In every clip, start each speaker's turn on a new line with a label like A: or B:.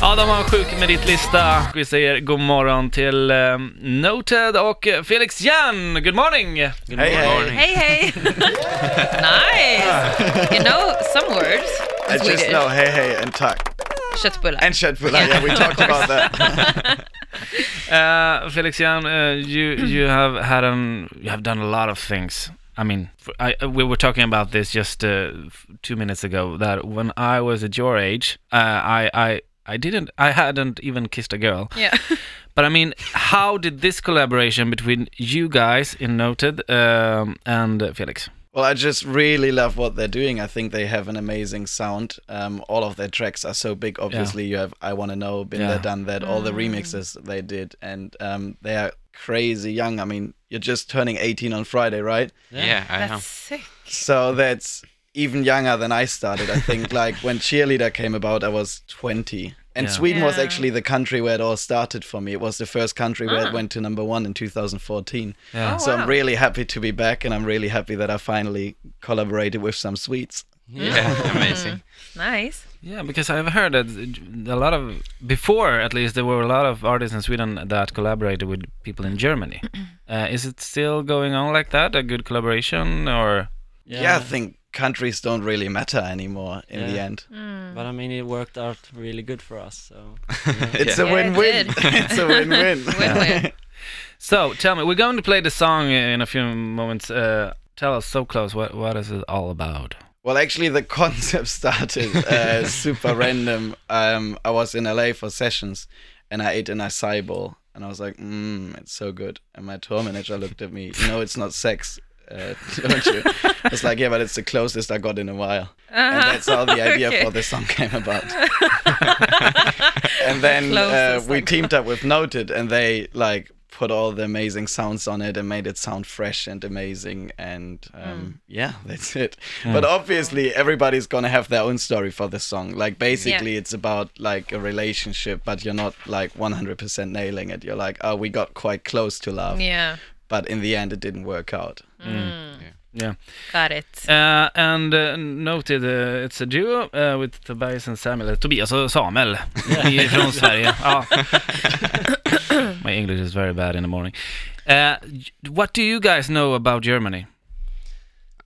A: Ja, de var en sjuk meritlista. Vi säger god morgon till eh, Noted och Felix Jern. Good morning!
B: Good
C: Hey, hey.
B: morning.
D: Hey, hey. nice. You know some words.
C: I
D: in
C: just
D: Swedish.
C: know hey hey and tuck
D: Köttbullar.
C: and Shadfula. Yeah, we talked about that.
A: Uh, Felix Jern, uh, you you have had an you have done a lot of things. I mean, f I we were talking about this just uh, f- two minutes ago. That when I was at your age, uh, I I I didn't I hadn't even kissed a girl.
D: Yeah.
A: But I mean, how did this collaboration between you guys in Noted um, and uh, Felix?
C: Well, I just really love what they're doing. I think they have an amazing sound. Um, all of their tracks are so big. Obviously, you have I Want to Know, Been
A: Yeah.
C: There, Done That, all the remixes they did. And um, they are crazy young. I mean, you're just turning 18 on Friday, right?
B: Yeah, I know.
D: That's sick.
C: So that's even younger than I started. I think like when Cheerleader came about, I was 20. And
A: Yeah.
C: Sweden was
D: Yeah.
C: actually the country where it all started for me. It was the first country where it went to number one in 2014.
A: Yeah.
D: Ah. Oh,
C: so
D: wow.
C: I'm really happy to be back and I'm really happy that I finally collaborated with some Swedes.
B: Yeah,
D: Mm.
B: amazing.
D: Nice.
A: Yeah, because I've heard that a lot of before, at least, there were a lot of artists in Sweden that collaborated with people in Germany. uh, is it still going on like that? A good collaboration, or
C: Yeah, I think countries don't really matter anymore in the
E: Yeah.
C: end.
D: Mm. Mm-hmm.
E: But I mean, it worked out really good for us. So
C: It's a
D: Yeah, it
C: win-win.
D: did.
C: it's a win-win.
D: Win-win.
A: so? Tell me, we're going to play the song in a few moments. Uh, tell us so close. What what is it all about?
C: Well, actually, the concept started uh, super random. Um, I was in LA for sessions, and I ate an acai bowl, and I was like, "Mmm, it's so good." And my tour manager looked at me. You know, it's not sex, uh, don't you? I was like, "Yeah, but it's the closest I got in a while." And that's how the idea
D: Uh-huh. Okay.
C: for the song came about. and then uh,
D: Closest
C: we
D: I got.
C: teamed up with Noted, and they like put all the amazing sounds on it and made it sound fresh and amazing. And um, yeah, that's it. But obviously, everybody's gonna have their own story for the song. Like basically, it's about like a relationship, but you're not like 100% nailing it. You're like, oh, we got quite close to love,
D: Yeah.
C: but in the end, it didn't work out.
A: Yeah,
D: Got it.
A: uh, and uh, noted uh, it's a duo uh, with Tobias and Samuel. Eh, Tobias och Samuel Ni är från Sverige. Ja. My English is very bad in the morning. Uh, what do you guys know about Germany?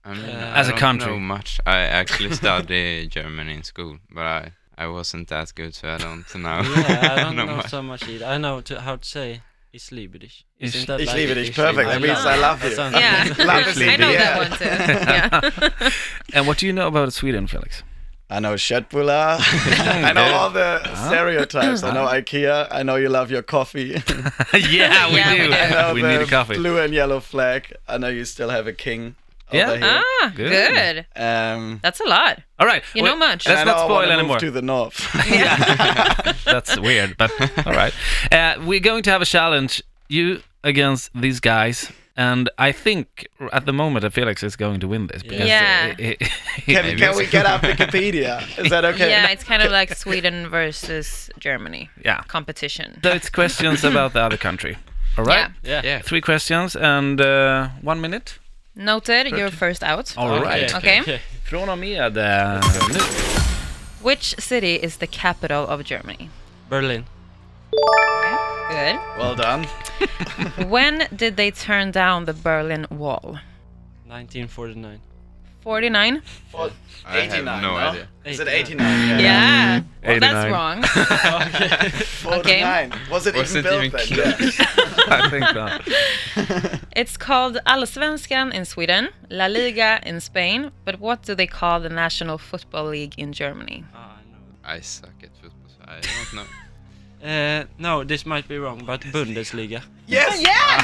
B: I mean,
A: As a
B: I don't
A: country.
B: know much. I actually studied German in school, but I, I wasn't that good, so I don't know.
E: yeah, I don't
B: know
E: know
B: much.
E: so much either. I know to, how to say Islibidish.
A: Is-
E: Isn't that
C: Ich
E: like-
C: liebe dich, perfect. That
E: I
C: means
E: love
C: I love
E: that
C: you.
E: sounds-
D: Yeah.
C: Lovely,
D: I know
C: yeah.
D: that one too. Yeah.
A: And what do you know about Sweden, Felix?
C: I know Shadbula. I know all the stereotypes. I know IKEA. I know you love your coffee.
A: yeah, we
D: Yeah, we
A: do.
D: do.
C: I know
A: We
C: the
A: need a coffee.
C: Blue and yellow flag. I know you still have a king
A: Yeah.
C: over here.
D: Ah,
A: Good.
D: good.
C: Um,
D: That's a lot.
A: All right.
D: You know much.
A: Let's
C: and
A: not
C: I know I wanna
A: spoil
C: move
A: anymore.
C: To the north.
A: That's weird, but all right. Uh, we're going to have a challenge. You against these guys. And I think r- at the moment, uh, Felix is going to win this. Because
D: Yeah.
A: uh, he- he-
C: can, can we get up Wikipedia? Is that okay?
D: Yeah, it's kind of like Sweden versus Germany
A: yeah.
D: competition.
A: So it's questions about the other country. All right?
D: Yeah.
E: Yeah.
B: Yeah.
A: Three questions and uh, one minute.
D: Noted, you're first out.
A: All right.
D: Okay.
A: Från och med eh, nu.
D: Which city is the capital of Germany?
E: Berlin.
D: Good.
C: Well done.
D: When did they turn down the Berlin Wall?
E: 1949.
D: 49?
C: Well,
B: I have no idea.
C: Is it 89?
D: Yeah. Well,
A: 89.
D: that's wrong.
C: 49. Was it
B: Was
C: even
B: it
C: built
B: even
C: then?
B: close?
C: Yeah.
A: I think that.
D: It's called Allsvenskan in Sweden, La Liga in Spain, but what do they call the National Football League in Germany?
E: Ah, I know.
B: I suck at football, so I don't know.
E: Uh, no, this might be wrong, but Bundesliga.
C: Yes.
D: Oh, Yeah!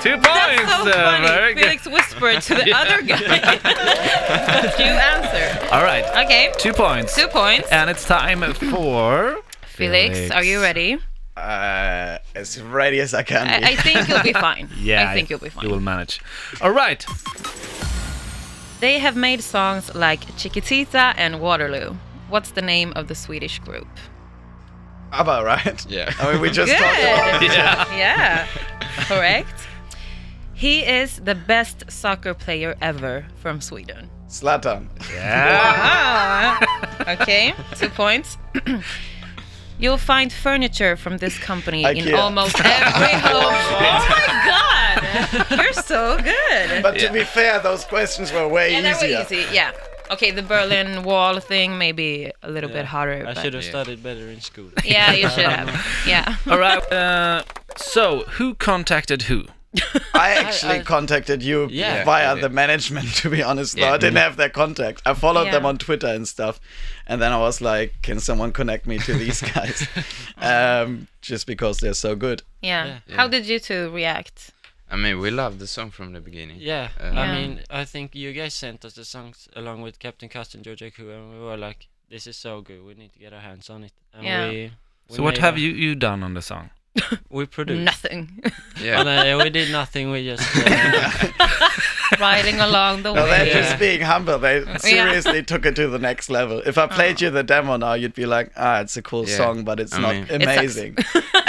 A: Two points!
D: That's so
A: uh,
D: funny!
A: very good.
D: Felix whispered to the other guy. but you answered.
A: All right.
D: Okay,
A: Two points.
D: two points.
A: And it's time for.
D: Felix, are you ready?
C: Uh, as ready as I can be.
D: I, I think you'll be fine.
A: Yeah,
D: I think you'll be fine.
A: You will manage. All right.
D: They have made songs like Chiquitita and Waterloo. What's the name of the Swedish group?
C: ABBA, right?
B: Yeah.
C: I mean, we just
D: Good.
C: talked about
A: Yeah.
D: Yeah. Correct. He is the best soccer player ever from Sweden.
C: Zlatan.
A: Yeah.
D: Ah. Okay. Two points. You'll find furniture from this company in
C: IKEA.
D: almost every home. oh my god! You're so good.
C: But to be fair, those questions were way
D: yeah, that
C: easier.
D: was easy. Yeah. Okay, the Berlin Wall thing maybe a little bit harder.
E: I
D: but-
E: should have
B: Yeah.
E: studied better in school.
D: Yeah, you should have. Yeah.
A: All right. Uh, so, who contacted who?
C: I actually
D: I-
C: contacted you
E: Yeah.
C: via
B: Yeah.
C: the management, to be honest. though.
B: Yeah.
C: I didn't have their contact. I followed them
D: Yeah.
C: on Twitter and stuff. And then I was like, can someone connect me to these guys? um, just because they're so good.
D: Yeah.
B: Yeah.
D: How did you two react?
B: I mean, we loved the song from the beginning.
E: Yeah,
C: Uh-huh.
B: Uh,
E: I
D: Yeah.
E: mean, I think you guys sent us the songs along with Captain Cast and George Aku, and we were like, "This is so good. We need to get our hands on it." And
D: Yeah.
E: we, we
A: So, what
E: made
A: have
E: a-
A: you, you done on the song?
E: We produced.
D: Nothing.
E: Oh,
B: Yeah.
E: no, yeah, we did nothing. We just uh,
D: Riding along the
B: Oh,
C: No, they're
D: way.
C: just being humble. They seriously took it to the next level. If I played you the demo now, you'd be like, ah, it's a cool
B: Oh. Yeah.
C: song, but it's
B: I
C: not
B: mean- It
D: sucks.
C: amazing.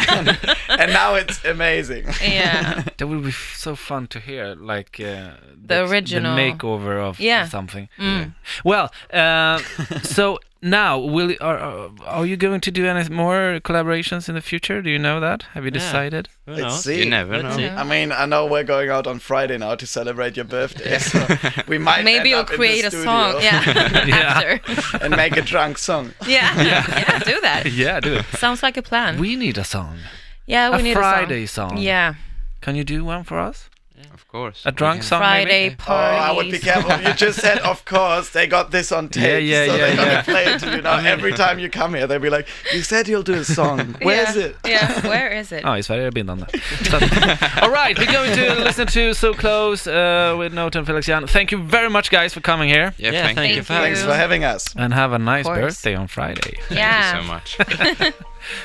C: and, and now it's amazing.
D: Yeah.
A: That would be f- so fun to hear, like uh,
D: The original.
A: the makeover of
D: Yeah.
A: something.
D: Mm.
A: Well, uh, so now will are- are are you going to do any more collaborations in the future? Do you know that? Have you
E: Yeah.
A: decided?
E: who
C: Let's
E: knows?
C: see.
B: You never
E: Let's
B: know.
D: Oh.
E: see.
C: I mean, I know we're going out on Friday now to celebrate your birthday. So we might end
D: Maybe you'll
C: up in the
D: create a
C: studio
D: song. Yeah.
A: Yeah.
D: After.
C: and make a drunk song.
D: Yeah. yeah. Do that.
A: yeah, do it.
D: Sounds like a plan.
A: We need a song.
D: yeah, Oh, we
A: a
D: need
A: Friday
D: a
A: song.
D: song. Yeah.
A: Can you do one for us?
B: Of course.
A: A
B: we
A: drunk
B: can-
A: song
D: Friday
A: maybe?
C: Oh, I would be
D: parties.
C: careful. You just said, of course, they got this on tape,
A: yeah,
C: so
A: yeah,
C: they're
A: yeah.
C: gonna play it to you now. Every time you come here, they'll be like, "You said you'll do a song. Where is
D: yeah.
C: it?"
D: Yeah. Where is it?
A: Oh, i Sverige har bindande. Så att- All right, we're going to listen to So Close uh, with Note and Felixian. Thank you very much, guys, for coming here.
B: Yeah,
E: Yeah,
B: thank,
E: thank
B: you.
E: you for
D: Thank
E: having
C: Thanks for having us.
A: And have a nice
D: course.
A: birthday on Friday.
B: Thank
D: yeah.
B: you so much.